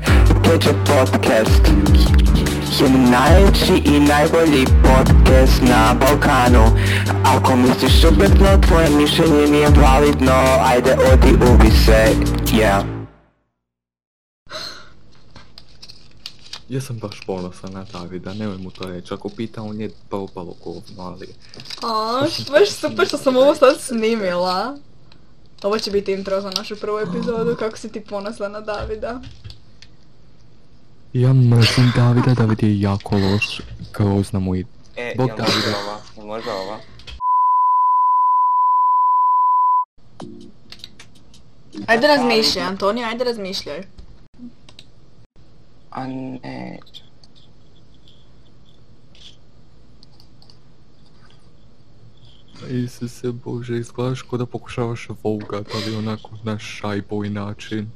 Najlepszy podcast Najlepszy i najbardziej podcast na Bałkanu Ako misliš suprotno, tvoje mišljenje nije validno Ajde odi ubi se, yeah Ja sam baš ponosan na Davida, nemoj mu to reći. Ako pita, on je pa upalo govno, ali... A, što- baš super što sam ovo sad snimila. Ovo će biti intro za našu prvu epizodu, kako si ti ponosna na Davida. Ja mrzim Davida, David je jako loš, grozna mu i... E, Bog jel Davida. možda ova? Jel možda ova? Ajde razmišljaj, Antonio, ajde razmišljaj. A ne... Isuse Bože, izgledaš ko da pokušavaš vogat, ali onako na šajboj način.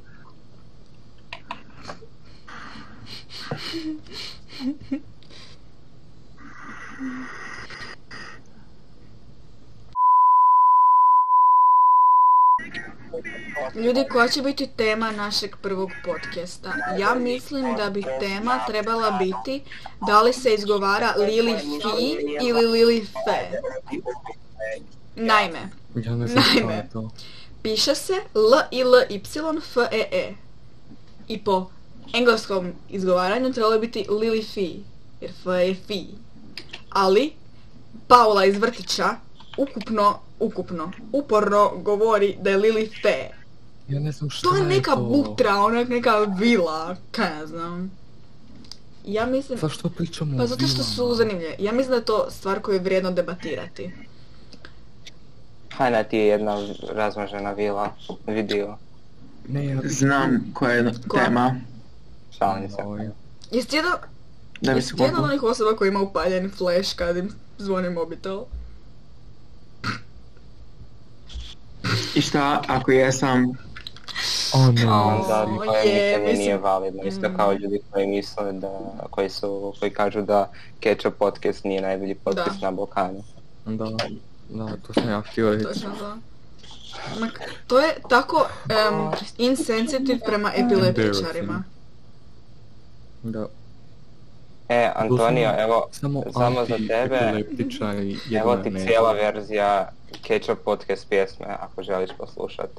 Ljudi, koja će biti tema našeg prvog podcasta? Ja mislim da bi tema trebala biti da li se izgovara Lili Fi ili Lili Fe. Naime, Ja ne znam što je Naime. to. Piše se L I L Y F E E. I po engleskom izgovaranju trebalo je biti Lily Fee, jer F je Fee. Ali Paula iz vrtića ukupno, ukupno, uporno govori da je Lily Fee. Ja ne znam što To je je to. neka butra, onak neka vila, kaj ja znam. Ja mislim... Zašto pričamo o Pa zato što su vilama? zanimljive. Ja mislim da je to stvar koju je vrijedno debatirati. Hajna ti je jedna razmažena vila, vidio, Ne, ja bi... Znam koja je Koja? tema. šalim se. Oj. Jesi ti jedan- Da bi se Jesi ti jedna od popio. onih osoba koja ima upaljen flash kad im zvoni mobitel? I šta ako jesam? O ne, Au. Onda si. tvoje Ono, je, mišljenje mislim- Mm. nije validno, isto kao ljudi koji misle da, koji su, koji kažu da Ketchup podcast nije najbolji podcast Da. na Balkanu. Da, da, to sam ja htio reći. Točno to. Ma k- to je tako em, insensitive prema epileptičarima. Da. E, Antonio, evo, Samo, samo za tebe, Epileptičari evo jedva ti ne- cijela verzija Ketchup podcast pjesme, ako želiš poslušat.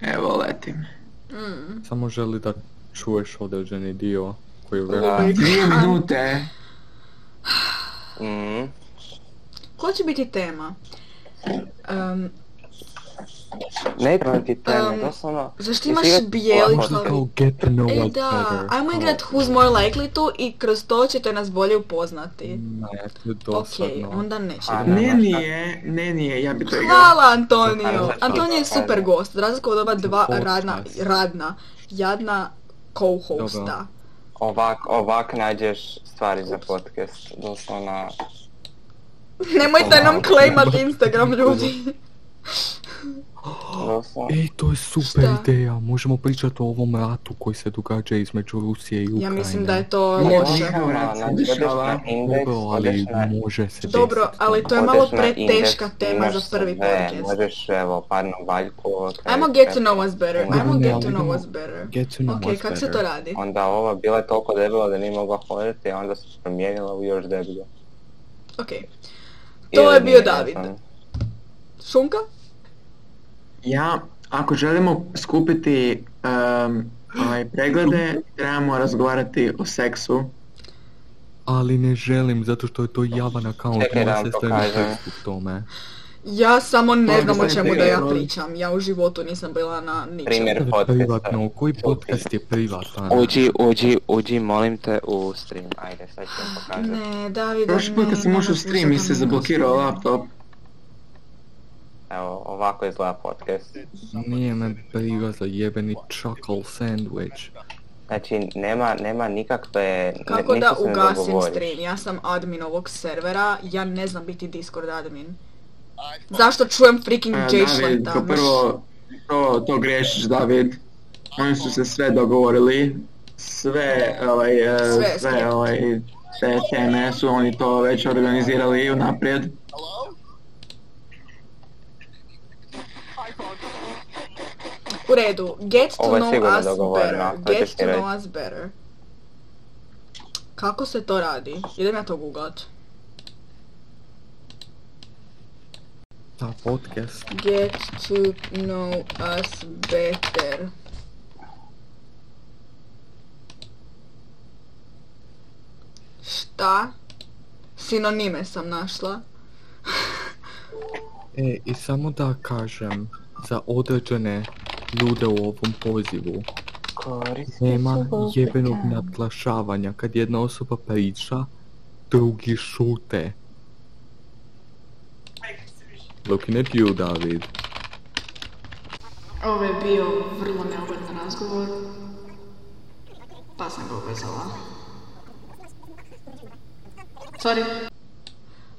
Evo letim. Mm. Samo želi da čuješ određeni dio koji je Da. Ovaj, velik. Dvije minute. Mhm. Koja će biti tema? Em, Ne trebam ti teme, Em, doslovno... zašto Jesi imaš igrat- bijeli Možda čovjek? Kao get to know Ej us pa- e, da, better. ajmo igrat Who's More Likely tu i kroz to ćete nas bolje upoznati. Ne, to je Ok, Mm, dosadno. onda neće. A, Ne da, nije, ne nije, ja bi to igrao. Hvala Antonio! Hvala. Antonio je super gost, za razliku od ova dva Podcast. radna, radna, jadna co-hosta. Dobro. Ovak, ovak nađeš stvari za podcast, doslovno. E, Nemojte nam klejmat Instagram ljudi. doslovno. Ej, to je super Šta? ideja, možemo pričati o ovom ratu koji se događa između Rusije i Ukrajine. Ja mislim da je to Može. loše. Evo, rad na se dešava. indeks, Dobro, znači, odeš ali na... može se Dobro, desiti. ali to je odeš malo na preteška Indeks, tema za imaš prvi sve, podcast. Možeš, evo, par na valjku. kaj Ajmo get sve. to know us better, Dobro, ajmo ne, get ali to know idemo- us better. Get to know Ok, us kako se to better. radi? Onda ova bila je toliko debela da nije mogla hodati, a onda se promijenila u još deblju. Ok, To Ili je bio nije, ne David. znam. šunka? Ja, ako želimo skupiti em, ovaj, preglede, trebamo razgovarati o seksu. Ali ne želim, zato što je to javan account, Čekaj da moja vam sestra ima pokažem. pristup tome. Ja samo ne Možda znam o stavite čemu da ja roll. pričam, ja u životu nisam bila na ničem. Primjer To je podcasta. privatno, koji podcast je privatan? Uđi, uđi, uđi, molim te u stream. Ajde, sad ću vam pokazati. Ah, Ne, David, Prošli put kad sam ušao u stream i se zablokirao laptop. Evo, ovako izgleda podcast. Nije me briga za jebeni chuckle sandwich. Znači, nema, nema nikakve... ne- Kako ništa da se ne ugasim dogovori. stream? Ja sam admin ovog servera, ja ne znam biti Discord admin. Zašto čujem freaking E, J-Shlan David, tamo? kao prvo, to, to griješiš David. Oni su se sve dogovorili. Sve, ovaj, e, Sve, sve. sve, ovaj, te teme su oni to već organizirali unaprijed. U redu, get to Ovo je know sigurno us dogovoreno, better. to ćeš Get ti to reći. know us better. Kako se to radi? Idem ja to googlat. Ta podcast. Get to know us better. Šta? Sinonime sam našla. E, i samo da kažem, za određene ljude u ovom pozivu, nema jebenog nadglašavanja. Kad jedna osoba priča, drugi šute. Looking at you, David. Ovo je bio vrlo neugodan razgovor, pa sam ga ubrzala. Sorry,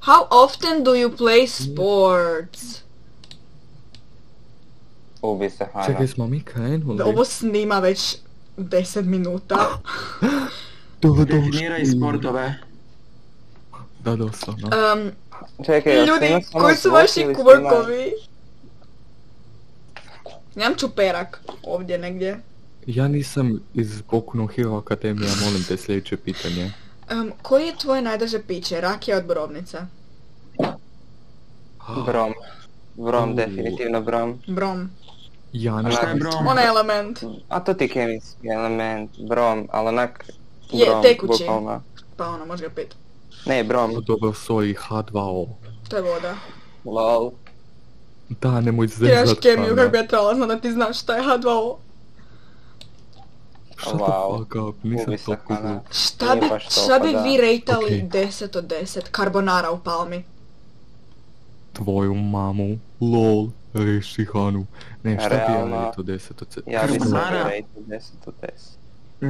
How often do you play sports? Ubi se, Hana. Čekaj, smo mi krenuli? Ovo snima već 10 minuta. Dobro, dobro, Definiraj sportove. Da, doslovno. Um, Čekaj, jel ljudi, E, snima samo koji su zvuk vaši ili snima- kvorkovi? Nemam čuperak ovdje negdje. Ja nisam iz Boku no Hero Akademija, molim te sljedeće pitanje. Um, koji je tvoje najdraže piće? Rakija od borovnice. Brom. Brom, U. definitivno brom. Brom. Ja ne Šta Šta je brom? Onaj element. A to ti je kemijski element, brom, ali onak... Je, brom, tekući. bukvalno. Pa ono, možeš ga pit. Ne, brom, Dobro, sorry, H2O. To je voda. lol. Da, nemoj Tiraš zezat. kemiju Hana. kako bi ja trebala znam da ti znaš šta je H2O. Shut the Wow. fuck up, nisam Ubi se, ono. to Hana. kužio. Šta Nije bi, baš to, šta pa bi da. vi rejtali Ok. 10 od 10 karbonara u palmi? Tvoju mamu, lol, reši Hanu. Ne, šta bi ja Realno, radio to 10 od 10? Ja bi se Carbonara? rated 10 od 10.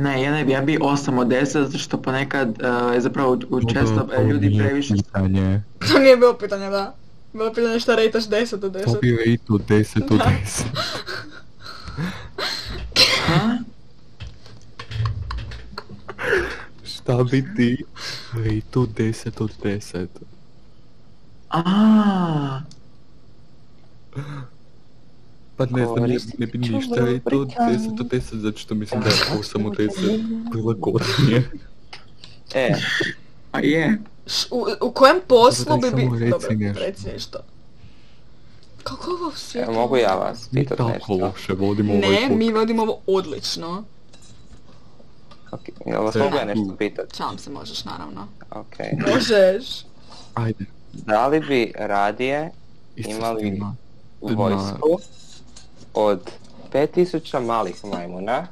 Ne, ja ne bi, ja bi 8 od 10, zato što ponekad, eh, zapravo u- u često eh, ljudi previše... Pitanje. To nije bilo pitanje, da. Bilo je pitanje šta rejtaš 10 od 10. To bi rejtu 10 od Da. 10. Ha? Šta bi ti E, rejtu 10 od 10? Aaaa. Pa ne znam, ja Koristit ne bi ništa e, rejtu od 10 od 10, zato što mislim da je 8 od 10 prilagodnije. E, A je. Š- U, u kojem poslu Dobro, bi daj bi... samo reci Dobro, nešto. reci nešto. Kako ovo e, sve? mogu ja vas Mi pitat tako nešto? loše vodimo ovaj Ne, podcast. mi vodimo ovo odlično. Ok, Jel vas Ne. mogu ja nešto pitat? šalim se možeš naravno. Ok. Možeš. Ajde, Da li bi radije isto Imali- snima. Ma- vojsku od 5000 malih majmuna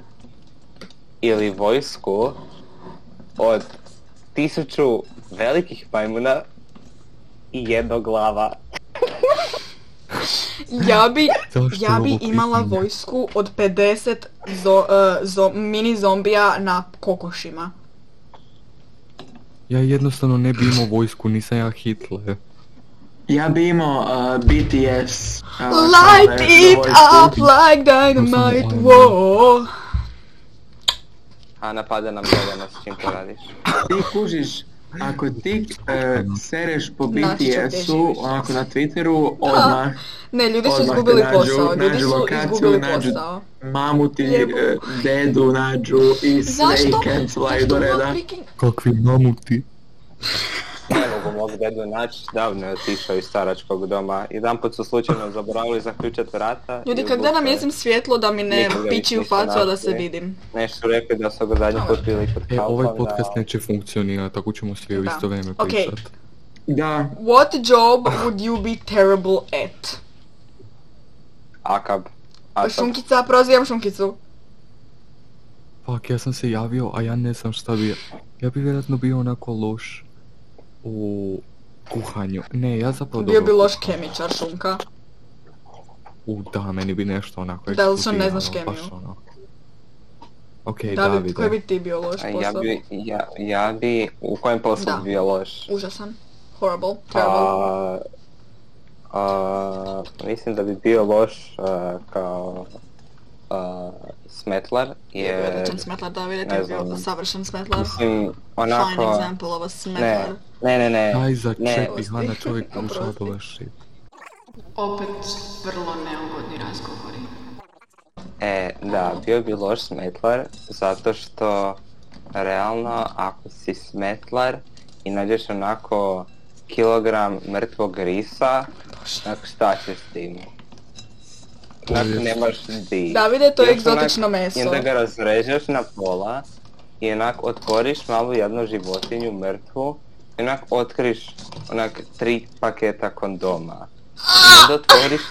ili vojsku od 1000 velikih majmuna i jednog glava. Ja bi, Zašto ja je bi ovo imala pitanje? vojsku od 50 zo, e, zo- mini zombija na kokošima. Ja jednostavno ne bi imao vojsku, nisam ja Hitler. Ja bi imao uh, BTS. uh, Light cover it za up vojsku. like dynamite, Iron Man. whoa. A napada nam gledano s čim to radiš. Ti kužiš, ako ti uh, sereš po Znaš što gdje BTS-u, živiš. onako na Twitteru, odmah Ne, ljudi su Odmah te izgubili nađu, posao, ljudi nađu su lokaciju, izgubili nađu- posao. mamu ti, Jebo. uh, dedu nađu i sve i Zašto? cancelaju Zašto do ono reda. freaking... Kakvi mamuti. Ne mogu mog dedu naći, davno je otišao iz staračkog doma. Jedan put su slučajno zaboravili zaključati vrata. Ljudi, i kak da nam odlučili- jesim svjetlo da mi ne Nikoga pići u nisam facu, a da se našli. vidim. Nešto su rekli da su ga zadnji put bili kod E, ovaj Kauflanda, podcast neće funkcionirati, tako ćemo svi u Da. isto vrijeme Ok. pričat. Da, What job would you be terrible at? Akab. Asab. Šunkica, prozivam Šunkicu. Fuck, ja sam se javio, a ja ne znam šta bi... Ja bi vjerojatno bio onako loš u kuhanju. Ne, ja zapravo Bio bi dobro loš kuham. kemičar Šunka. U, da, meni bi nešto onako Da, ali što ne znaš eksplodiralo, baš kemiju. ono. Okej, David, koji Davide, bi ti bio loš A Pa Ja posao? bi, ja, ja bi, u kojem poslu Da. bi bio loš? Užasan. Horrible. Pa, Terrible. A, a, mislim da bi bio loš a, kao a, smetlar, Bio je jer, odličan smetlar, da vidite, ne je bio znam. savršen smetlar. mislim, Fine onako, example of a ne, smetlar. ne, ne, ne, daj začepi, oprosti. Hana, čovjek nam Oprosti. zabavrši. Opet vrlo neugodni razgovori. e, da, bio bi loš smetlar, zato što realno, ako si smetlar i nađeš onako kilogram mrtvog risa, znači šta ćeš s tim? Znači nemaš di. Davide, to je Još egzotično onak- meso. I onda ga razrežeš na pola i onak otvoriš malu jednu životinju mrtvu i onak otkriš onak tri paketa kondoma. I onda otvoriš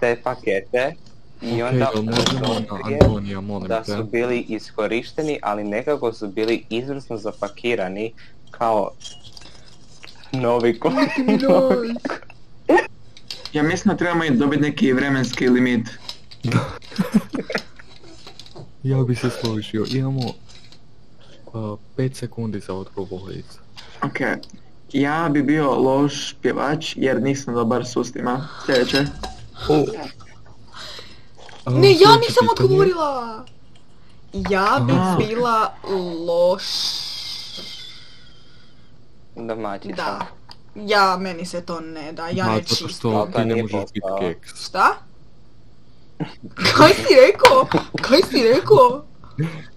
te pakete i Ok, onda jel možemo na otkrije Antonija, molim da te. su bili iskorišteni, ali nekako su bili izvrsno zapakirani kao novi kon- Joj. Ja mislim da trebamo i dobiti neki vremenski limit. Ja bi se složio, imamo 5 sekundi za odgovoriti. Ok. Ja bi bio loš pjevač jer nisam dobar s ustima. Sljedeće. Ono Ne, ja nisam odgovorila! Ja A. bi bila loš... domaćica. Da. Ja, meni se to ne da, ja ne Zato čistim. što ti ne Al' da nije možeš biti postala. keks. Šta? Kaj si rekao? Kaj si rekao?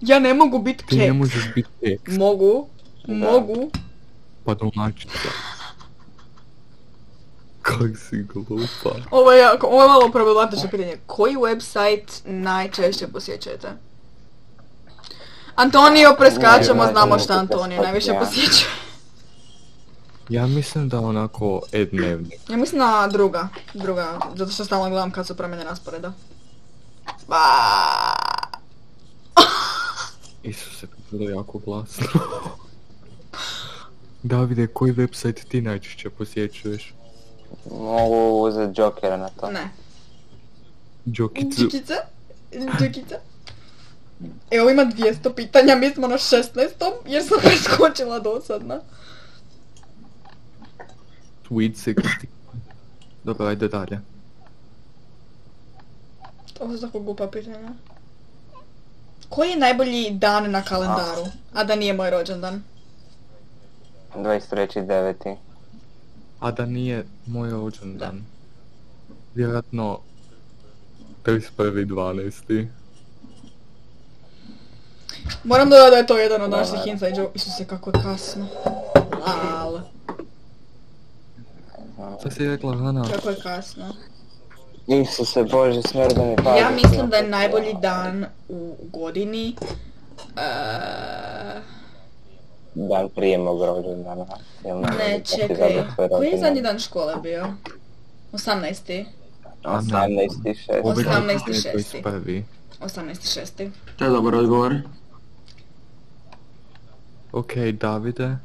Ja ne mogu bit Ti ne keks. možeš biti keks, Mogu, mogu. pa domaćica. Kak si glupa. Ovo je, jako- ovo je malo problematično pitanje. Koji website najčešće posjećujete? Antonio preskačemo, Ne, ne, znamo ne, šta ne, Antonio ne, najviše ne. posjećuje. Ja mislim da onako e-dnevnik. Ja mislim na druga, druga, zato što stalno gledam kad su promjene rasporeda. Ba- Isuse, to je bilo jako glasno. Davide, koji website ti najčešće posjećuješ? Mogu uzeti Jokera na to. Ne. Jokicu. Čukica? Čukica? Evo ima 200 pitanja, mi smo na 16. jer sam preskočila dosadna. Tweet 60. Dobro, ajde dalje. Ovo su tako glupa pitanja. Koji je najbolji dan na kalendaru? A da nije moj rođendan. 23.9. A da nije moj rođendan. Vjerojatno 31.12. Moram dodati da je to jedan od naših inside joke. Isuse, kako je kasno. Al, Šta si rekla, Hana? kako je kasno. Isuse Bože, smrda mi pada. Ja mislim Pa, da je najbolji dan u godini... eh, Dan prije mog rođendana. Jel Ne, mogu čak i čekaj. zabrat Koji svoj je rođendan? zadnji dan škole bio? 18. 18.6. Ove godine je 18.6.. 21. 18.6. To je dobar odgovor. Ok, Davide.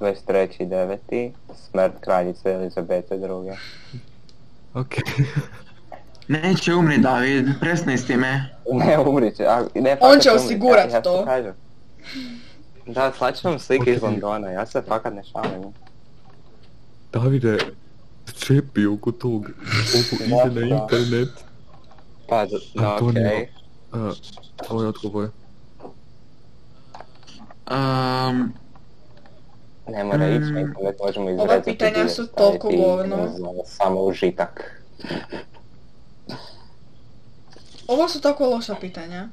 23.9. Smrt kraljice Elizabete II. Ok. Neće umri David, presni s time. Ne, umrit će. A, ne, On fakat će umrit, osigurat ja- ja ti to. kažem. Da, slaću vam slike iz Ok. Londona, ja se fakat ne šalim. Davide, čepi oko tog. Ovo ide na Da. internet. Pa, d- da, okej. Antonio. Uh, ovo je odgovor. Um, Ne mora ići, Mm. mislim da možemo izrezati. Ova pitanja dio, su toliko staviti, govno. ne znam, Samo užitak. Ovo su tako loša pitanja.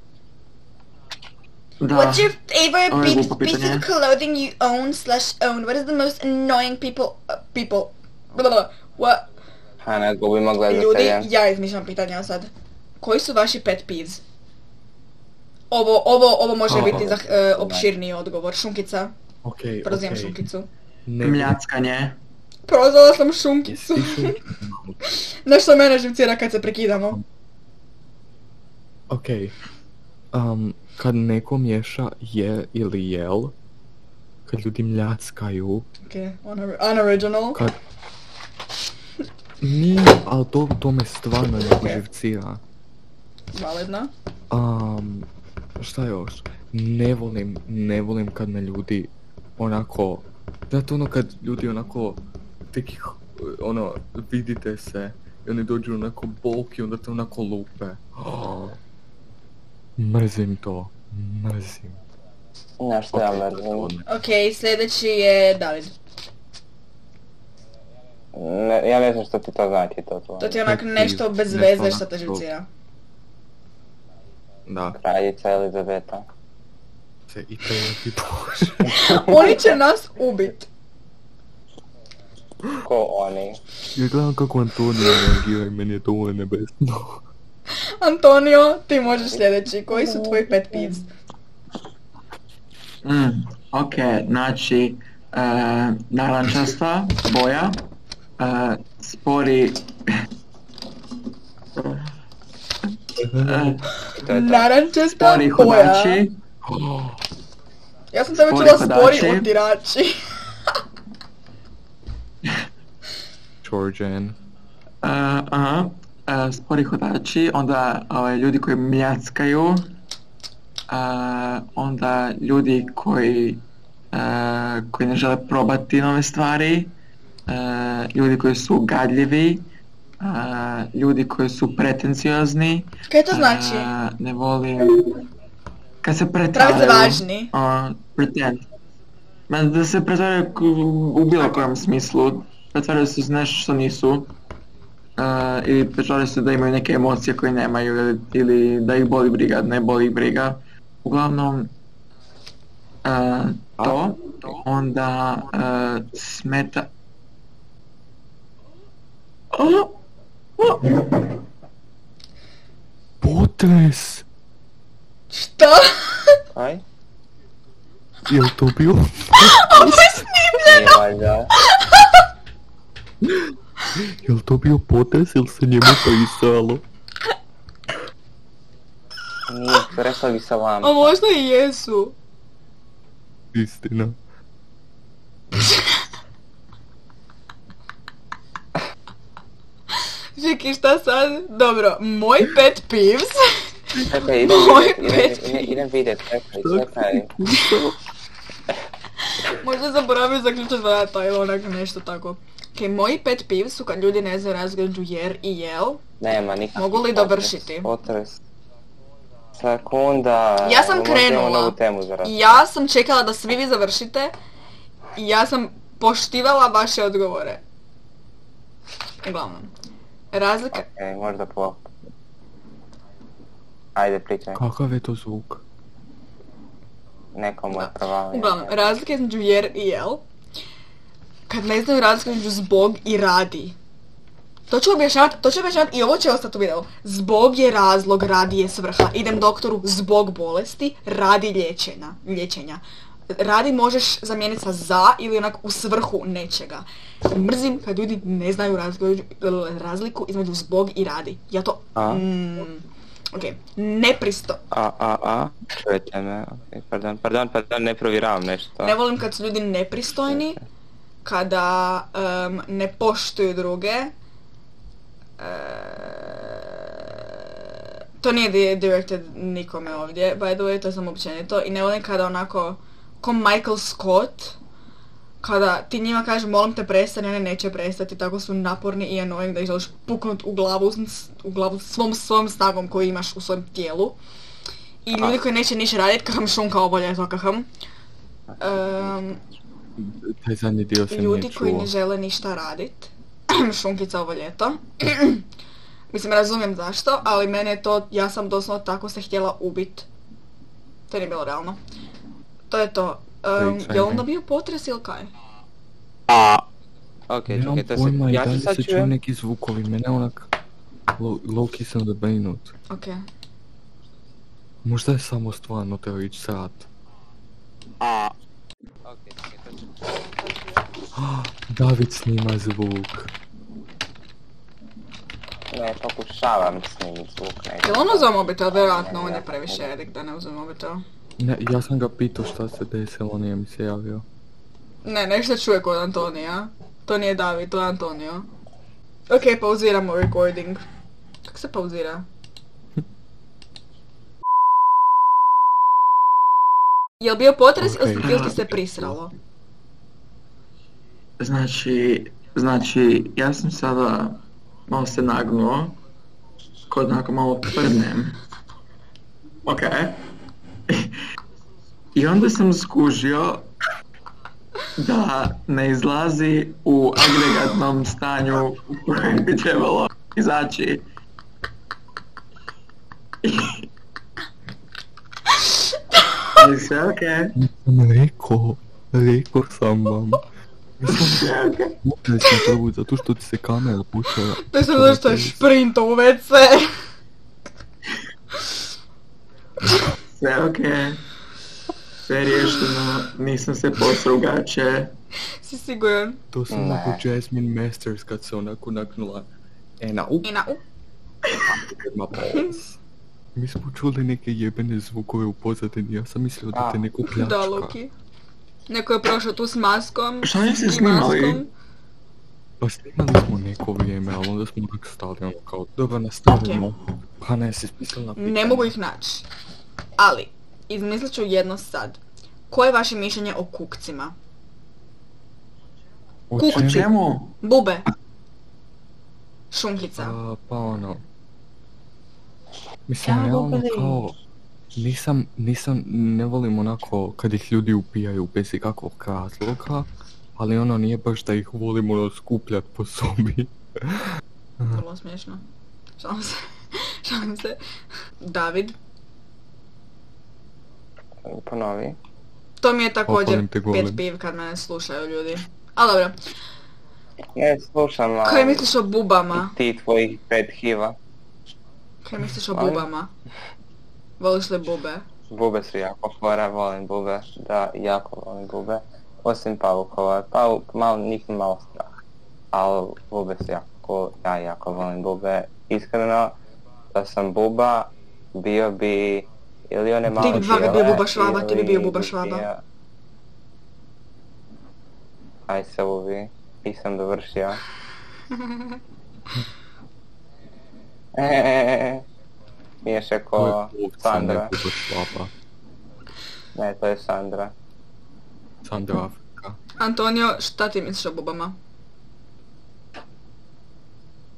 da, What's your favorite Ovo je big glupo piece pitanje. of clothing you own slash own? What is the most annoying people uh, people? Blah, blah, blah. What? Hana, gubimo gledatelja. Ljudi, ja izmišljam pitanja sad. Koji su vaši pet peeves? Ovo, ovo, ovo može Aha. biti za, e, opširniji odgovor. Šunkica. Ok, Prozivam ok. šunkicu. Ne, mljackanje. Prozvala sam šunkicu. jesi ti šun- Nešto mene živcira kad se prekidamo. Ok. Um, kad neko miješa je ili jel, kad ljudi mljackaju, Ok, unor- unoriginal. kad... Nije, ali to, to me stvarno ne živcira. Validna. Um, šta još? Ne volim, ne volim kad me ljudi onako, znate ono kad ljudi onako, tek ih, ono, vidite se i oni dođu onako bok i onda te onako lupe. Mrzim to, mrzim. Znaš što ja mrzim? Ok, sljedeći je David. Ne, ja ne znam što ti to znači to tvoje. To ti je onak Pet nešto peeves, bez nešto veze onako. što te živcira. Da, Kraljica Elizaveta. se i to je ti bože. Oni će nas ubit. Ko oni? Ja gledam kako Antonija reagira i meni je to nebesno. Antonio, ti možeš sljedeći. Koji su tvoji pet peeves? Mm, ok, znači, e, narančasta boja, e, spori... e, To je to. Narančasta spori boja. hodači, Ja sam samo Spori čula spori hodači. utirači. Georgian. e, aha, e, spori hodači, onda ovaj, ljudi koji mljackaju, e, onda ljudi koji, e, koji ne žele probati nove stvari, e, ljudi koji su gadljivi, e, ljudi koji su pretenciozni, Kaj to znači? A, ne volim. Kad se pretvaraju. Pravi se važni. a, pretend. Ma da se pretvaraju k- u bilo kojem smislu. Pretvaraju se za nešto što nisu. A, ili pretvaraju se da imaju neke emocije koje nemaju ili, ili da ih boli briga, ne boli ih briga. Uglavnom, a, to, onda a, smeta... O, o, Potres! Što? Aj? Jel to bio? Nije valjda. Jel to bio potres ili se njemu prisalo? Nije, rekla bi sa A vama. možda i jesu. Istina. Čekaj, šta sad? Dobro, moj pet peeves. Čekaj, idem Moj vidjet, pet idem, idem, idem vidjet, čekaj, čekaj. Možda je zaboravio zaključati vrata ili onak nešto tako. Ok, moji pet peeves su kad ljudi ne znaju razgrađu jer i jel. Nema nikakvih Mogu li potresa, dovršiti? Potres. Sekunda. Ja sam evo, možda imamo krenula. novu temu za razgovor. I ja sam čekala da svi vi završite i ja sam poštivala vaše odgovore. Uglavnom. Razlika... Okej, E, možda po... Ajde, pričaj. Kakav je to zvuk? Nekomu je provalio. Uglavnom, e- razlika između jer i jel. Kad ne znaju razlika između zbog i radi. To ću objašnjavati, to ću objašnjavati i ovo će ostati u videu. Zbog je razlog, radi je svrha. Idem doktoru zbog bolesti, radi liječenja. liječenja. Radi možeš zamijeniti sa za ili onak u svrhu nečega. Mrzim kad ljudi ne znaju razliku, razliku između zbog i radi. Ja to... A? Mm, ok, nepristo. A, a, a, čujete me, Okej, pardon, pardon, pardon, ne provjeravam nešto. Ne volim kad su ljudi nepristojni, kada em, ne poštuju druge. E, to nije di- directed nikome ovdje, by the way, to sam općenito. I ne volim kada onako, ko Michael Scott, kada ti njima kažeš molim te prestani, one neće prestati, tako su naporni i annoying da ih želiš puknut u glavu, s- u glavu svom, svom snagom koju imaš u svojem tijelu. I ljudi koji neće ništa raditi, kakam šunka obolje, to kakam. Em, Taj zadnji dio sam ljudi nije koji čuo. ne žele ništa radit. Šunkica ovo ljeto. Mislim, razumijem zašto, ali mene je to, ja sam doslovno tako se htjela ubit. To nije bilo realno. To je to. Um, Ej, čekaj. je onda bio potres ili kaj? Okej, čekaj, Nemam to se, pojma i ja ću dalje sad se čuju čujem, neki zvukovi, mene onak... Loki sam zabrinut. Ok. Možda je samo stvarno teo ići srat. Okej, čekaj, to ću David snima zvuk. Ne, pokušavam snimiti zvuk Je nekako. ono uzeo mobitel? Vjerojatno, on je previše edik da ne uzme mobitel. Ne, ja sam ga pitao šta se desilo, nije mi se javio. Ne, nešto čuje kod Antonija. To nije David, to je Antonio. Ok, pauziramo recording. Kako se pauzira? Jel bio potres ili Ok. ili ti se prisralo? Znači, znači, ja sam sada malo se nagnuo, ko onako malo prdnem. Ok. I onda sam skužio da ne izlazi u agregatnom stanju u kojem bi trebalo izaći. Ali sve okej. Nisam rekao, rekao sam vam. Upili sam prvu zato što ti se kamera pušala. To sam zato što je šprinto u WC. Sve okej. Sve riješeno, nisam se posrao u gaće. Si siguran? To sam Ne. onako Jasmine Masters kad se onako naknula. E na up, I na up. ma balls. Mi smo čuli neke jebene zvukove u pozadini, ja sam mislio da te A. neko pljačka. Da, Loki. Neko je prošao tu s maskom. Šta niste i snimali? maskom. Pa snimali smo neko vrijeme, ali onda smo onak stali ono kao, dobro nastavimo. Pa ne, si smislila pitanje. Ne mogu ih naći. Ali, izmislit ću jedno sad. Koje je vaše mišljenje o kukcima? O kući. čemu? Čemu? Bube. Šunkica. A, pa ono... Mislim, realno kao... Nisam, nisam, ne volim onako kad ih ljudi upijaju bez ikakvog razloga, ali ono nije baš da ih volim ono skupljat po sobi. Vrlo smiješno. Šalim se. Šalim se. David. Ponovi. To mi je Opalim također te pet golem. piv kad me slušaju ljudi. A dobro. Ne, slušam, ali... Kaj misliš o bubama? Ti tvojih pet hiva. Kaj misliš o Ali- bubama? Voliš li bube? Bube su jako fora, volim bube. Da, jako volim bube. Osim pavukova. Pavuk, malo, njih mi malo strah. Ali bube su jako cool. Ja jako volim bube. Iskreno, da sam buba, bio bi ili one malo bi dva, bi bio bijele, buba švaba, ti bi bio ili buba bi švaba. bio- Aj se uvi, nisam dovršio. Eee, Miješ To je ko ovca, ne Pa, Sandra. buba šlapa. Ne, to je Sandra. Sandra Afrika. Antonio, šta ti misliš o bubama?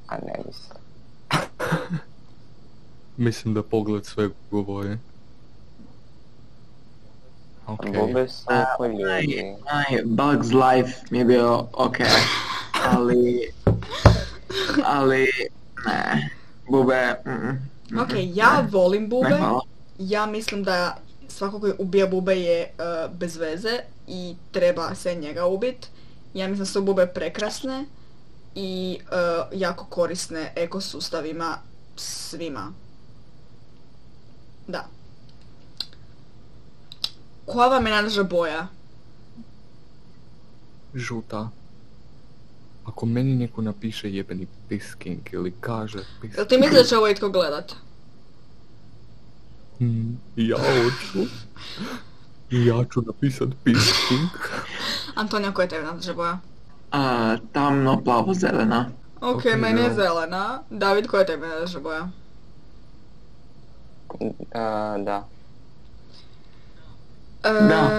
A ne mislim. Mislim da pogled sve govori. Okej. Bube su ko ljudi. Aj, Bugs Life mi je bio okej, ali... Ali... Ne, bube... Mm, mm, Ok, mm, ja volim ne, bube. hvala. Ja mislim da svako koji ubija bube je e, bez veze i treba se njega ubit. Ja mislim da su bube prekrasne i e, jako korisne ekosustavima svima. Da. Koja vam je najdraža boja? žuta. Ako meni neko napiše jebeni pisking ili kaže Jel pisking... ti misliš da će ovo itko gledat? Mm, ja hoću. I ja ću napisat pisking. Antonija, koja je tebi najdraža boja? A, tamno plavo zelena. Ok, Ok, meni je ja. zelena. David, koja je tebi najdraža boja? A, da. E, Da.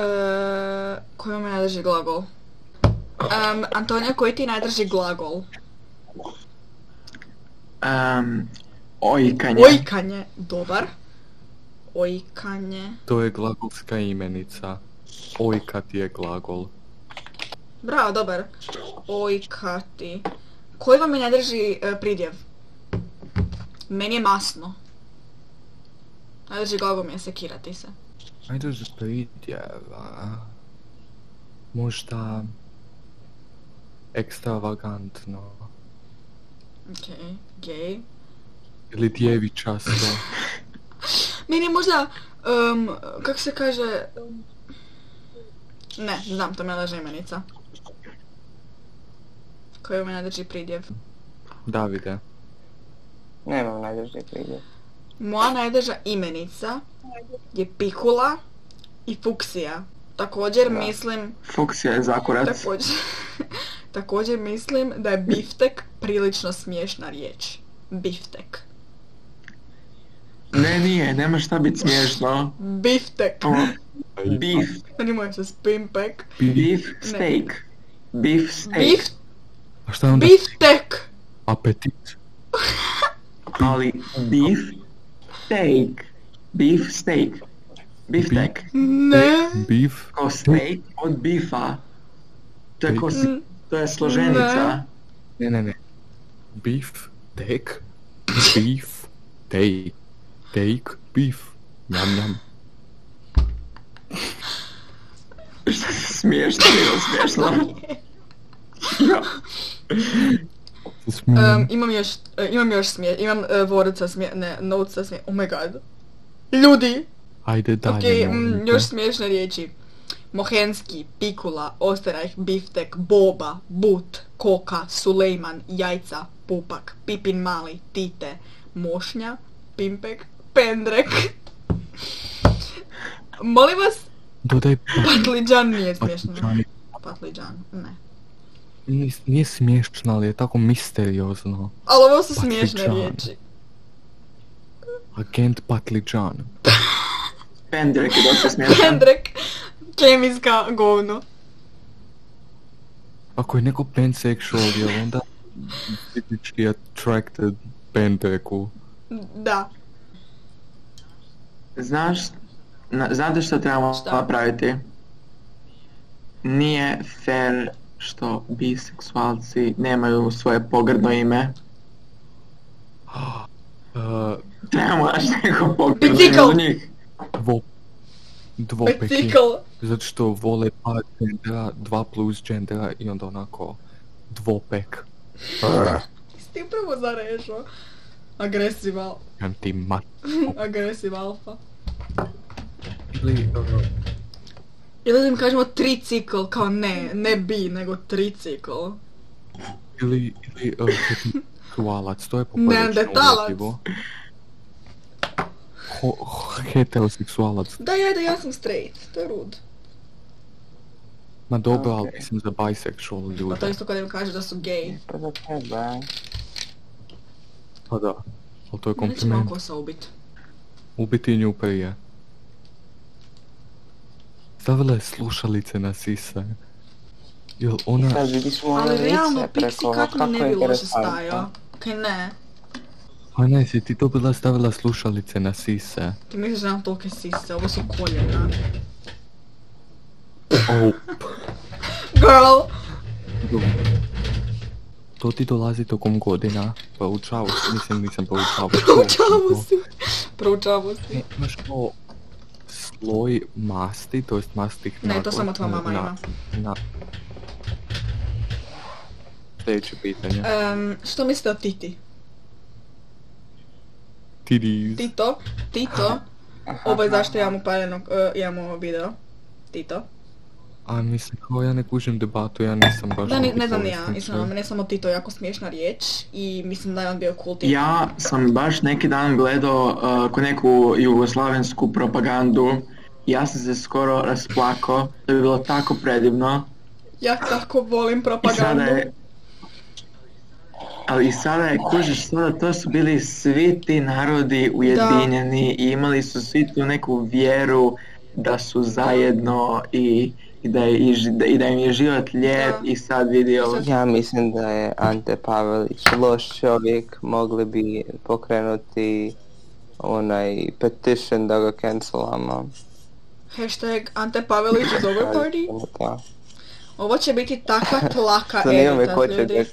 e, koji mi je najdraži glagol? Em, Antonija, koji ti je najdraži glagol? Um, ojkanje. Ojkanje. Dobar. Ojkanje. To je glagolska imenica. Ojkat je glagol. Bravo, dobar. Ojkati. Koji vam je najdraži e, pridjev? Meni je masno. Najdraži glagol mi je sekirati se. Ajde za pridjeva. Možda... Ekstravagantno. Ok, gej. Ili djevičasto. Meni je možda, em, kak se kaže... Ne, znam, to mi je lažna imenica. Koju mi nadrži pridjev. Davide. Nemam najdraži prigod. Moja najdrža imenica je pikula i fuksija. Također Da. mislim, Fuksija je zakurat. također, također mislim da je biftek prilično smiješna riječ. Biftek. Ne, nije, nema šta biti smiješno. Biftek. Ovo, Beef, Ne moj se spimpek. beef steak. Beef steak. Bif, A šta je onda? biftek. Apetit. Ali beef steak. Beef steak. Beef steak. Ne. Beef. Kao steak od bifa. To je, ko, Mm, to je složenica. Ne, Ne. ne, ne. Beef, tek, beef, take, take, beef. Njam, njam. Šta se smiješ? Šta je ovo smiješno? Em, imam još, e, imam još smije, imam uh, word sa smije, ne, note sa smije, oh my god. Ljudi, Ajde dalje. okej, mm, Monika. još smiješne riječi. Mohenski, pikula, osterajh, biftek, boba, but, koka, sulejman, jajca, pupak, pipin mali, tite, mošnja, pimpek, pendrek. Molim vas, Dodaj patliđan nije smiješno. patličani. Patliđan, ne. Nije, nije smiješno, ali je tako misteriozno. Ali ovo su smiješne Patliđan. riječi. Agent Patliđan. Pendrek je dosta smiješan. Pendrek, kemijska govno. Ako je neko pansexual, je li onda fizički attracted pendreku? Da. Znaš, na- znate što trebamo Šta? napraviti? Nije fair što biseksualci nemaju svoje pogrdno ime. Uh, Trebamo naći neko pogrdno ime Bicikl! za njih. dvo... Dvopeki. Bicikl. Zato što vole dva gendera, dva plus gendera i onda onako dvopek. Ti upravo zarešao. Agresiv al. Antimat. Agresiv alfa. Ili, uh, Ili da im kažemo tricikl, kao ne, ne bi, nego tricikl. ili, ili uh, heteroseksualac, to je Neandertalac. poprilično uvjetljivo. Ho, ho, heteroseksualac. Da, ja, da, ja sam straight, to je rud. Ma dobro, ali Ok. mislim za bisexual Pa to ljude. isto kad im kažeš da su gay. Pa da treba. Pa da. Ali to je Neće Znači, malo kompliment. kosa ubit. Ubiti nju prije. Stavila je slušalice na sise. Jel ona... Sad vidiš moje Ali lice realno, preko Pixi ovoga, kako ne bi loše interesantno. stajao. Kaj ne, Ana, jesi ti to bila stavila slušalice na sise? ti misliš da nam tolke sise, ovo su koljena. Oh, Girl! to ti dolazi tokom godina. Proučavao si, mislim nisam proučavao. Proučavo si. Proučavo si. E, Imaš kao sloj masti, to jest mastih Ne, to samo tvoja mama ima. Na. Sljedeće pitanje. E, Em, što mislite o Titi? Tidis. Tito, Tito, ovo je zašto imamo paljenog, eh, imamo video. Tito. A mislim, kao ja ne kužim debatu, ja nisam baš... Da, ni, ne neki znam ni ja, korisnik. iskreno, mene je samo Tito jako smiješna riječ i mislim da je on bio cool tip. Ja sam baš neki dan gledao uh, ko neku jugoslavensku propagandu. Ja sam se skoro rasplakao, to je bilo tako predivno. Ja tako volim I sada propagandu. je... Ali i sada je, kužiš, sada to su bili svi ti narodi ujedinjeni i imali su svi tu neku vjeru da su zajedno i, i, da, je, i, ži- da- i da im je život lijep Da. i sad vidi ovo. Ja mislim da je Ante Pavelić loš čovjek, mogli bi pokrenuti onaj petition da ga cancelamo. Hashtag Ante Pavelić is overparty. Da. Ovo će biti takva tlaka Zanima me ko edita, će ljudi. da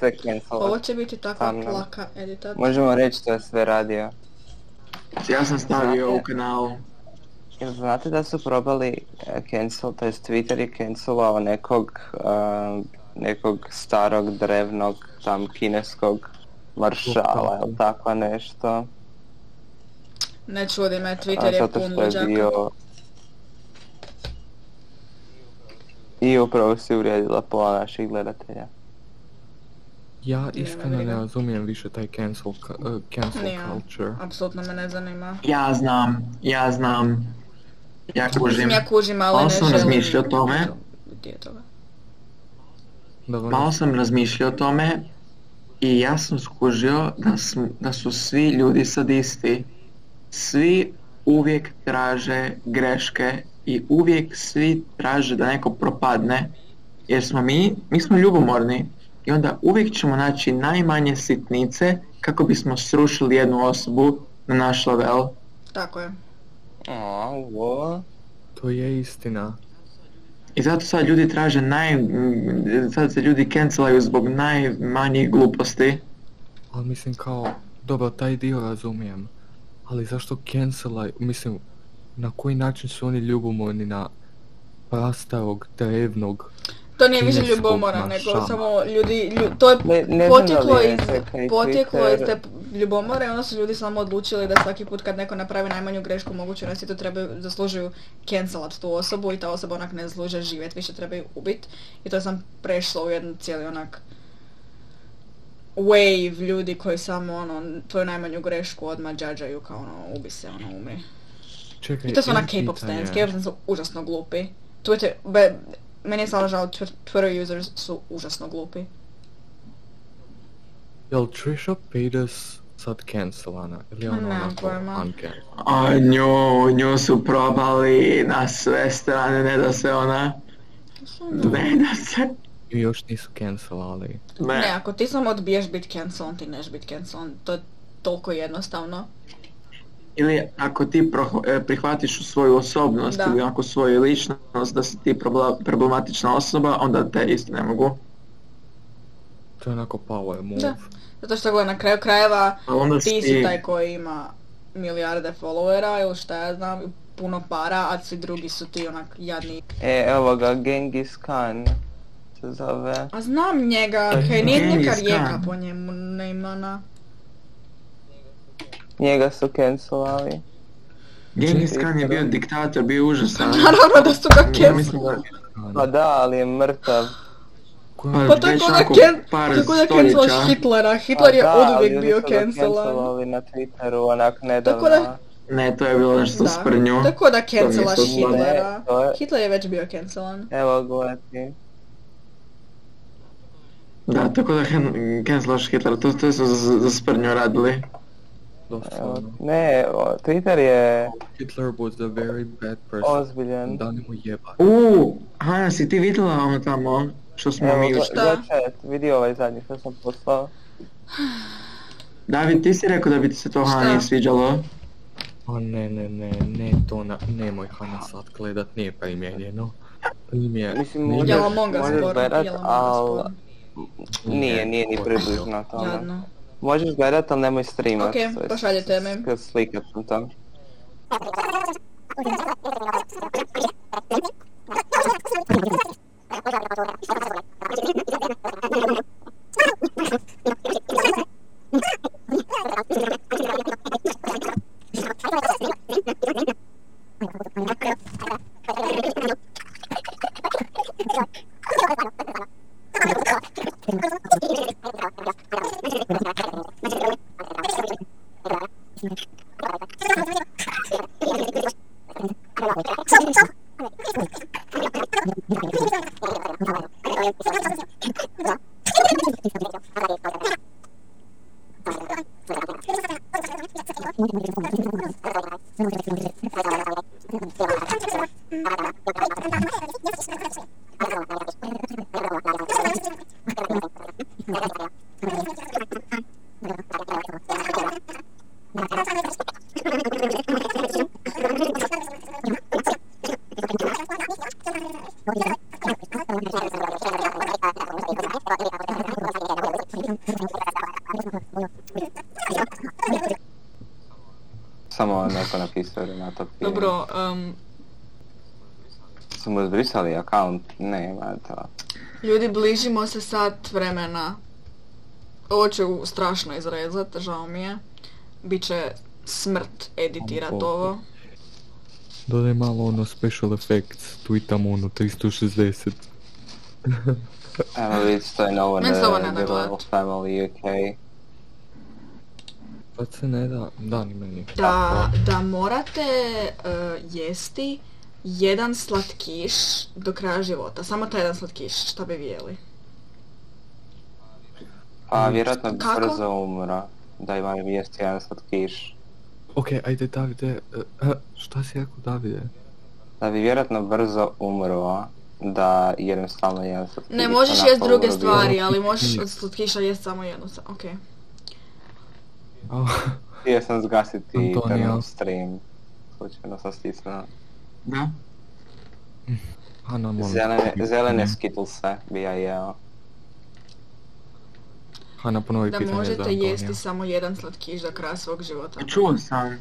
se Ovo cancelat. će biti takva Sam nam. tlaka edita. Možemo reći što je sve radio. Ja sam stavio Znate- u kanal. Jel znate da su probali e, cancel, to jest Twitter je cancelao nekog, e, nekog starog drevnog tam kineskog maršala, jel tako nešto? Ne čudi me, A, Twitter je zato pun što je luđaka. bio... I upravo si uvrijedila pola naših gledatelja. Ja iskreno ne briga. razumijem više taj cancel, ka- eh, cancel Ni ja. culture. Apsolutno me ne zanima. Ja znam, ja znam. Ja kužim. Mislim, ja ovaj kužim, ali Malo ne sam želim. razmišljao o tome. Gdje je toga? Da ono- Malo sam razmišljao o tome i ja sam skužio da, sm- da su svi ljudi sadisti. Svi uvijek traže greške i uvijek svi traže da neko propadne. Jer smo mi, mi smo ljubomorni i onda uvijek ćemo naći najmanje sitnice kako bismo srušili jednu osobu na naš level. Tako je. Ovo... To je istina. I zato sad ljudi traže naj... m, Sad se ljudi cancelaju zbog najmanjih gluposti. Ali mislim kao, dobro, taj dio razumijem. Ali zašto cancelaj, mislim, na koji način su oni ljubomorni na prastarog, drevnog, To nije više Kineskog ljubomora, nego maršala. samo ljudi, lju- to je Ne- ne znam da poteklo li je iz, SK poteklo Twitter- iz te p- ljubomore i onda su ljudi samo odlučili da svaki put kad neko napravi najmanju grešku moguću na svijetu trebaju, zaslužuju cancelat tu osobu i ta osoba onak ne zaslužuje živjet, više treba ju ubit. I to sam prešlo u jednu cijeli onak wave ljudi koji samo ono, tvoju najmanju grešku odmah džađaju kao ono, ubi se, ono, umri. čekaj, I to su ona imam K-pop pitanje. stands, K-pop stands su užasno glupi. Twitter, be, meni je stvarno žao, Tw- Twitter users su užasno glupi. Jel Trisha Paytas sad cancelana? Ili je ona Nemam onako pojma. uncan- A nju, nju su probali na sve strane, ne da se ona... Ne da se... Ju još nisu cancelali. Ne, Ne. ako ti samo odbiješ bit cancelan, ti neš bit cancelan. To je toliko jednostavno. Ili ako ti proho- e, prihvatiš svoju osobnost Da. ili ako svoju ličnost da si ti probla- problematična osoba, onda te isto ne mogu. To je onako power move. Da. Zato što gleda na kraju krajeva A onda si ti si taj koji ima milijarde followera ili šta ja znam, puno para, a svi drugi su ti onak jadni. E, evo ga, Genghis Khan se zove. A znam njega, Pa kaj nije Genghis neka Khan. rijeka po njemu neimana. Njega su cancelali. Genghis Khan je bio diktator, bio je užasan. Naravno da su ga Ja cancel. mislim da Pa da, ali je mrtav. Koja Pa to je već kod da nakon can- par to je kod da stoljeća. cancelaš Hitlera. Hitler Pa je da, ali oduvijek oni bio su ga cancelan. cancelovali na Twitteru, onak nedavno. Tako da- Ne, to je bilo nešto Da. sprnju. Tako da cancelaš Pa To mi je to Hitlera. Ne, to je- Hitler je već bio cancelan. Evo gledaj. Da, tako da hen- cancelaš Hitler, to, to su za, za sprnju radili. Evo, doslovno. ne, o, Twitter je ono. Hitler was a very bad person. ozbiljan. Da mu jeba. Uuu, Hana, si ti vidjela ono tamo što smo Evo, mi go, jučer... go chat, vidi ovaj zadnji što sam poslao. David, ti si rekao da bi ti se to Šta? Hani sviđalo. A ne, ne, ne, ne, to na, nemoj Hana sad gledat, nije primjereno. Primjer, Mislim, nije- možda- Jel Among Us Možeš porno, gledat, jel Among Us al- porno. Nije, nije ni približno tome. Jadno. Možeš gledat, ali nemoj streamat. Okej, sve, pošaljite mi. s- s- Slikat sam to. Samo neko napisao Renato Pini. Dobro, um, Su mu zbrisali account? Nema to. Ljudi, bližimo se sat vremena. Ovo ću strašno izrezat, žao mi je. Biće smrt editirat Bog. ovo. Dodaj malo ono special effects, tweetamo ono 360. Evo vidi stoji novo na Meni se ovo ne The da gledat. Royal Family UK. Pa se ne da, da ni meni. Da, da morate eh, jesti jedan slatkiš do kraja života. Samo taj jedan slatkiš, šta bi vi jeli? Pa vjerojatno bi Mm. Kako? brzo umro. Da ima mjesto jedan slatkiš. Ok, ajde Davide, eh, eh, šta si rekao Davide? Da bi vjerojatno brzo umro. Da jedem stalno jedan slatkiš. Ne možeš onako jest pa druge umro bi. stvari, ali možeš od slatkiša jest samo jednu. sa- Okej. A, Htio sam zgasiti Antonio. Antonio. stream. Slučajno sam stisnuo. Da. Hana, molim. te. Zelene, zelene skittlese bi ja jeo. Hana, ponovi Da pitanje za možete Antonija. jesti samo jedan slatkiš do kraja svog života. Pa Čuo sam.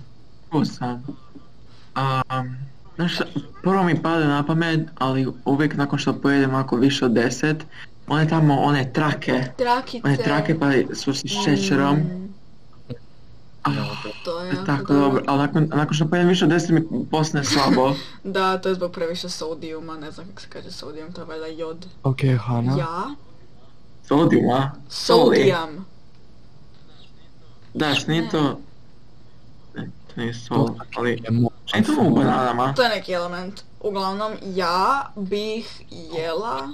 Tu sam. A, znaš šta, prvo mi pade na pamet, ali uvijek nakon što pojedem ako više od 10, one tamo, one trake, Trakice. one trake pa su s šećerom. Ah, Mm, To je jako tako dobro, ali nakon, nakon što pojedem više od 10 mi postane slabo. Da, to je zbog previše sodijuma, ne znam kako se kaže sodijum, to je valjda jod. Ok, Hana. Ja? Sodium, a? Sodijam. Da, šnito... Ne, to nije sol, ali... Emo- Šnito u bananama. To je neki element. Uglavnom, ja bih jela...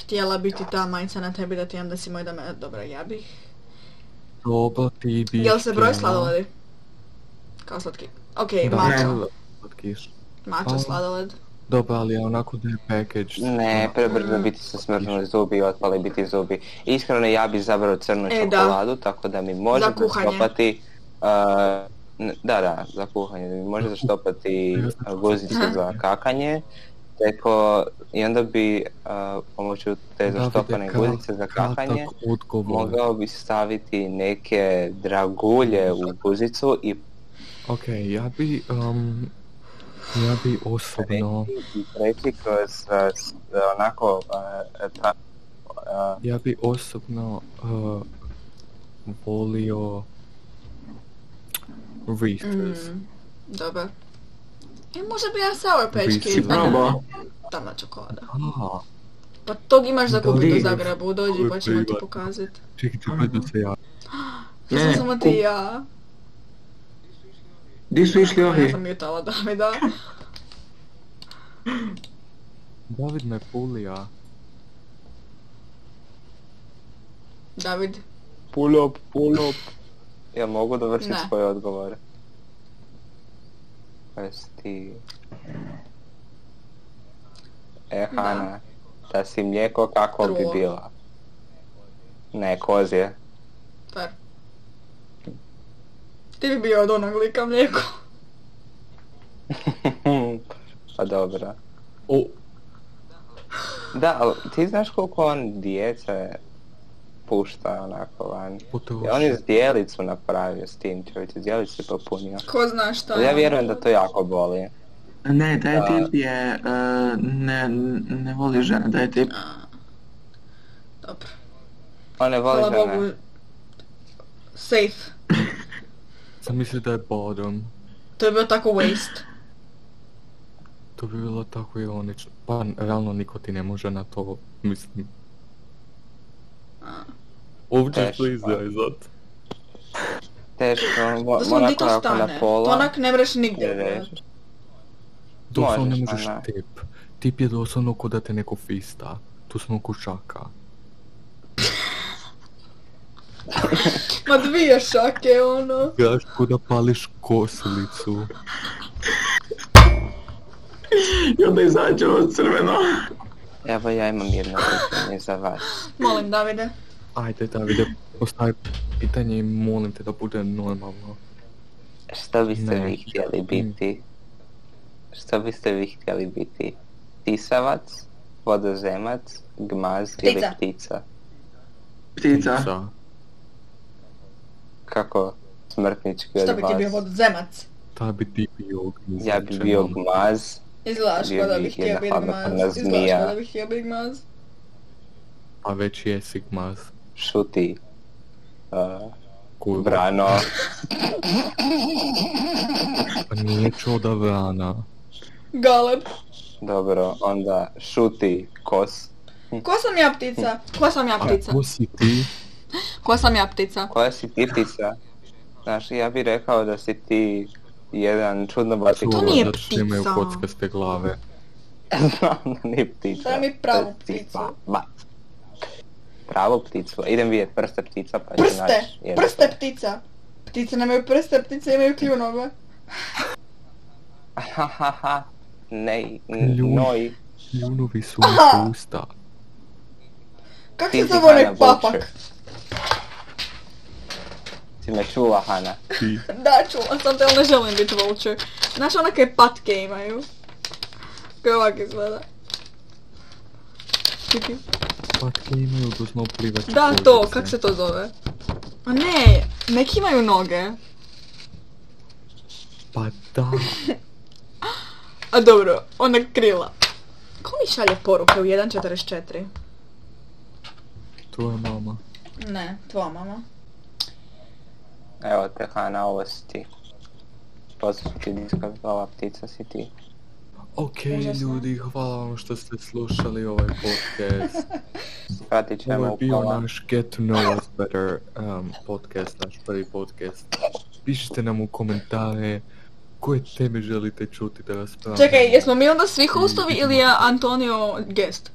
Htjela biti ta majica na tebi da ti imam da si moj da me... Dobro, ja bih... Doba ti bi... Jel se broj htjela- sladoledi? Kao slatki. Ok, Da, mačo. jel- slatkiš. Mačo Pa- sladoled. Dobro, ali onako da je package. Ne, prebrzo biti se smrznuli zubi i otpali biti zubi. Iskreno ja bi zabrao crnu E, da. čokoladu, tako da mi može Za kuhanje. zaštopati... Uh, n- da, da, za kuhanje, da mi može zaštopati uh, guzicu za kakanje. Teko, i onda bi uh, pomoću te Davide, zaštopane krat- guzice za kakanje kratak odgovor. mogao bi staviti neke dragulje u guzicu i Ok, ja bi... Um, ja bi osobno... i preći kroz uh, s- onako uh, ta, uh, Ja bi osobno uh, volio Reese's. Mm, dobar. E, možda bi ja sour patch Bisi Si kids, pa probao? tamna čokolada. A, Pa tog imaš za kupiti u Dobar. Zagrebu, dođi pa ćemo ti Dobar. pokazati. čekaj, čekaj da se ja... Ne, Ne, samo ku- ti i ja. Di su išli Ja ovi? sam jutala Davida. David me pulija. David, Pull up, pull up. Ja mogu dovršiti Ne. svoje odgovore. Jesi ti... E, Da. Hana, da si mlijeko kako bi Trulo. bila? Ne, kozje. fair. Ti bi bio od onog lika mlijeko. pa dobro. O, Da, ali ti znaš koliko on djece pušta onako van. potroši. I on je zdjelicu napravio s tim čovječe, zdjelicu je popunio. Ko zna šta. ono. Ali ja vjerujem da to jako boli. Ne, taj Da. tip je... e, ne, ne voli žene, taj tip. Dobro. On ne voli Hvala žene. Bogu. Safe. Sam mislio da je bottom. To je bio tako waste. To bi bilo tako ironično. Pa, realno niko ti ne može na to, mislim. Ovdje Teško. to izrezat. Teško, mo- Doslovno di onako to ako na stane. To pola. onak ne mreš ne nigdje. brate. režeš. Doslovno ne Možeš, možeš Ana. tip. Tip je doslovno ko da te neko fista. Tu smo kušaka. Ma dvije šake ono. Gaš ko da pališ kosilicu. I onda izađe ovo crveno. Evo ja imam jedno pitanje za vas. Molim Davide. Ajde Davide, postavi pitanje i molim te da bude normalno. Što biste Ne. vi htjeli biti? Što biste vi htjeli biti? Tisavac, vodozemac, gmaz ili Ptica. ptica? Ptica. Sa- Kako smrtnički Šta od bi ti bio vas? vodzemac? Ta bi ti bio ognjiz, Ja bi znači, bio ono, gmaz. Izgledaš Bio kao da bi bih htio jedna biti hladnokrvna gmaz. Izgledaš zmija. kao da bih htio biti gmaz. A već jesi gmaz. šuti uh, Kurva. brano. Pa nije čuda vrana. Galeb. Dobro, onda šuti kos. Ko sam ja ptica? Ko sam ja A ptica? ko si ti? Ko sam ja ptica? Koja si ti ptica? Znaš, ja bih rekao da si ti jedan čudnovati To Čuva, nije zato što imaju ptica. kockaste glave. Znam da nije ptica. Daj mi pravu To je pticu. ptica. Ba. Pravu pticu. Idem vidjet prste ptica pa ću Prste! naći jednu. Prste ptica! Ptice nemaju prste, ptice imaju kljunove. Ha, ha, ha. Nej, n- Ljudi. noj. Ljunovi su mi usta. Kak Ti se si zove onaj Hana papak? Vulture. Si me čula, Hana. Ti. Da, čula sam te, ali ne želim biti vulture. Znaš ona kaj patke imaju? Kaj ovak izgleda. Kiki. Pa ti imaju doslovno plivačke Da, to, kozice. kak se to zove? A ne, neki imaju noge. Pa da. A dobro, ona krila. Ko mi šalje poruke u 1.44? Tvoja mama. Ne, tvoja mama. Evo te Hana, ovo si ti. To su ti diskovi, ova ptica si ti. Ok, ljudi, hvala vam što ste slušali ovaj podcast. Pratit Ovo ćemo je u bio pola. naš Get to Know Us Better um, podcast, naš prvi podcast. Pišite nam u komentare koje teme želite čuti da raspravljamo. Čekaj, jesmo mi onda svi hostovi ili je Antonio guest?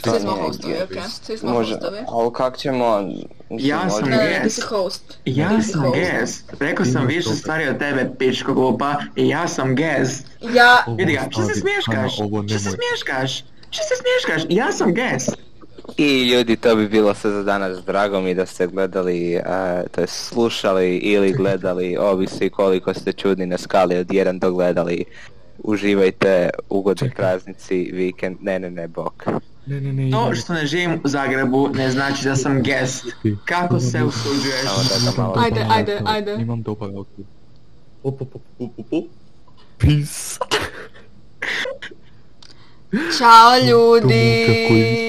To Svi smo nije hostovi, gdje. okej. Svi smo Može, hostovi. ali kak ćemo... mislim, Ja sam možda- Ne, ti guest. si host. Ja sam Imaš guest. Rekao sam dobre. više stvari od tebe, pičko glupa. I ja sam guest. Ja, Ovo Vidi ga, što se stavi, Ana, smješkaš? Ovo Što se nemoj. smješkaš? Što se smješkaš? Ja sam guest. I ljudi, to bi bilo sve za danas. Drago mi da ste gledali, eh, to je slušali ili gledali, ovisi koliko ste čudni na skali od 1 do gledali. Uživajte, ugodni Čekaj. praznici, vikend, ne ne ne, bok. Ne, ne, ne, To imamo- što ne živim u Zagrebu ne znači da sam guest. Kako se usuđuješ? Samo da ga malo... Ajde, dobar ajde, outro. ajde. Imam dobar outro. Op, op, op, op, op, op. Peace. čao To muka koji ljudi!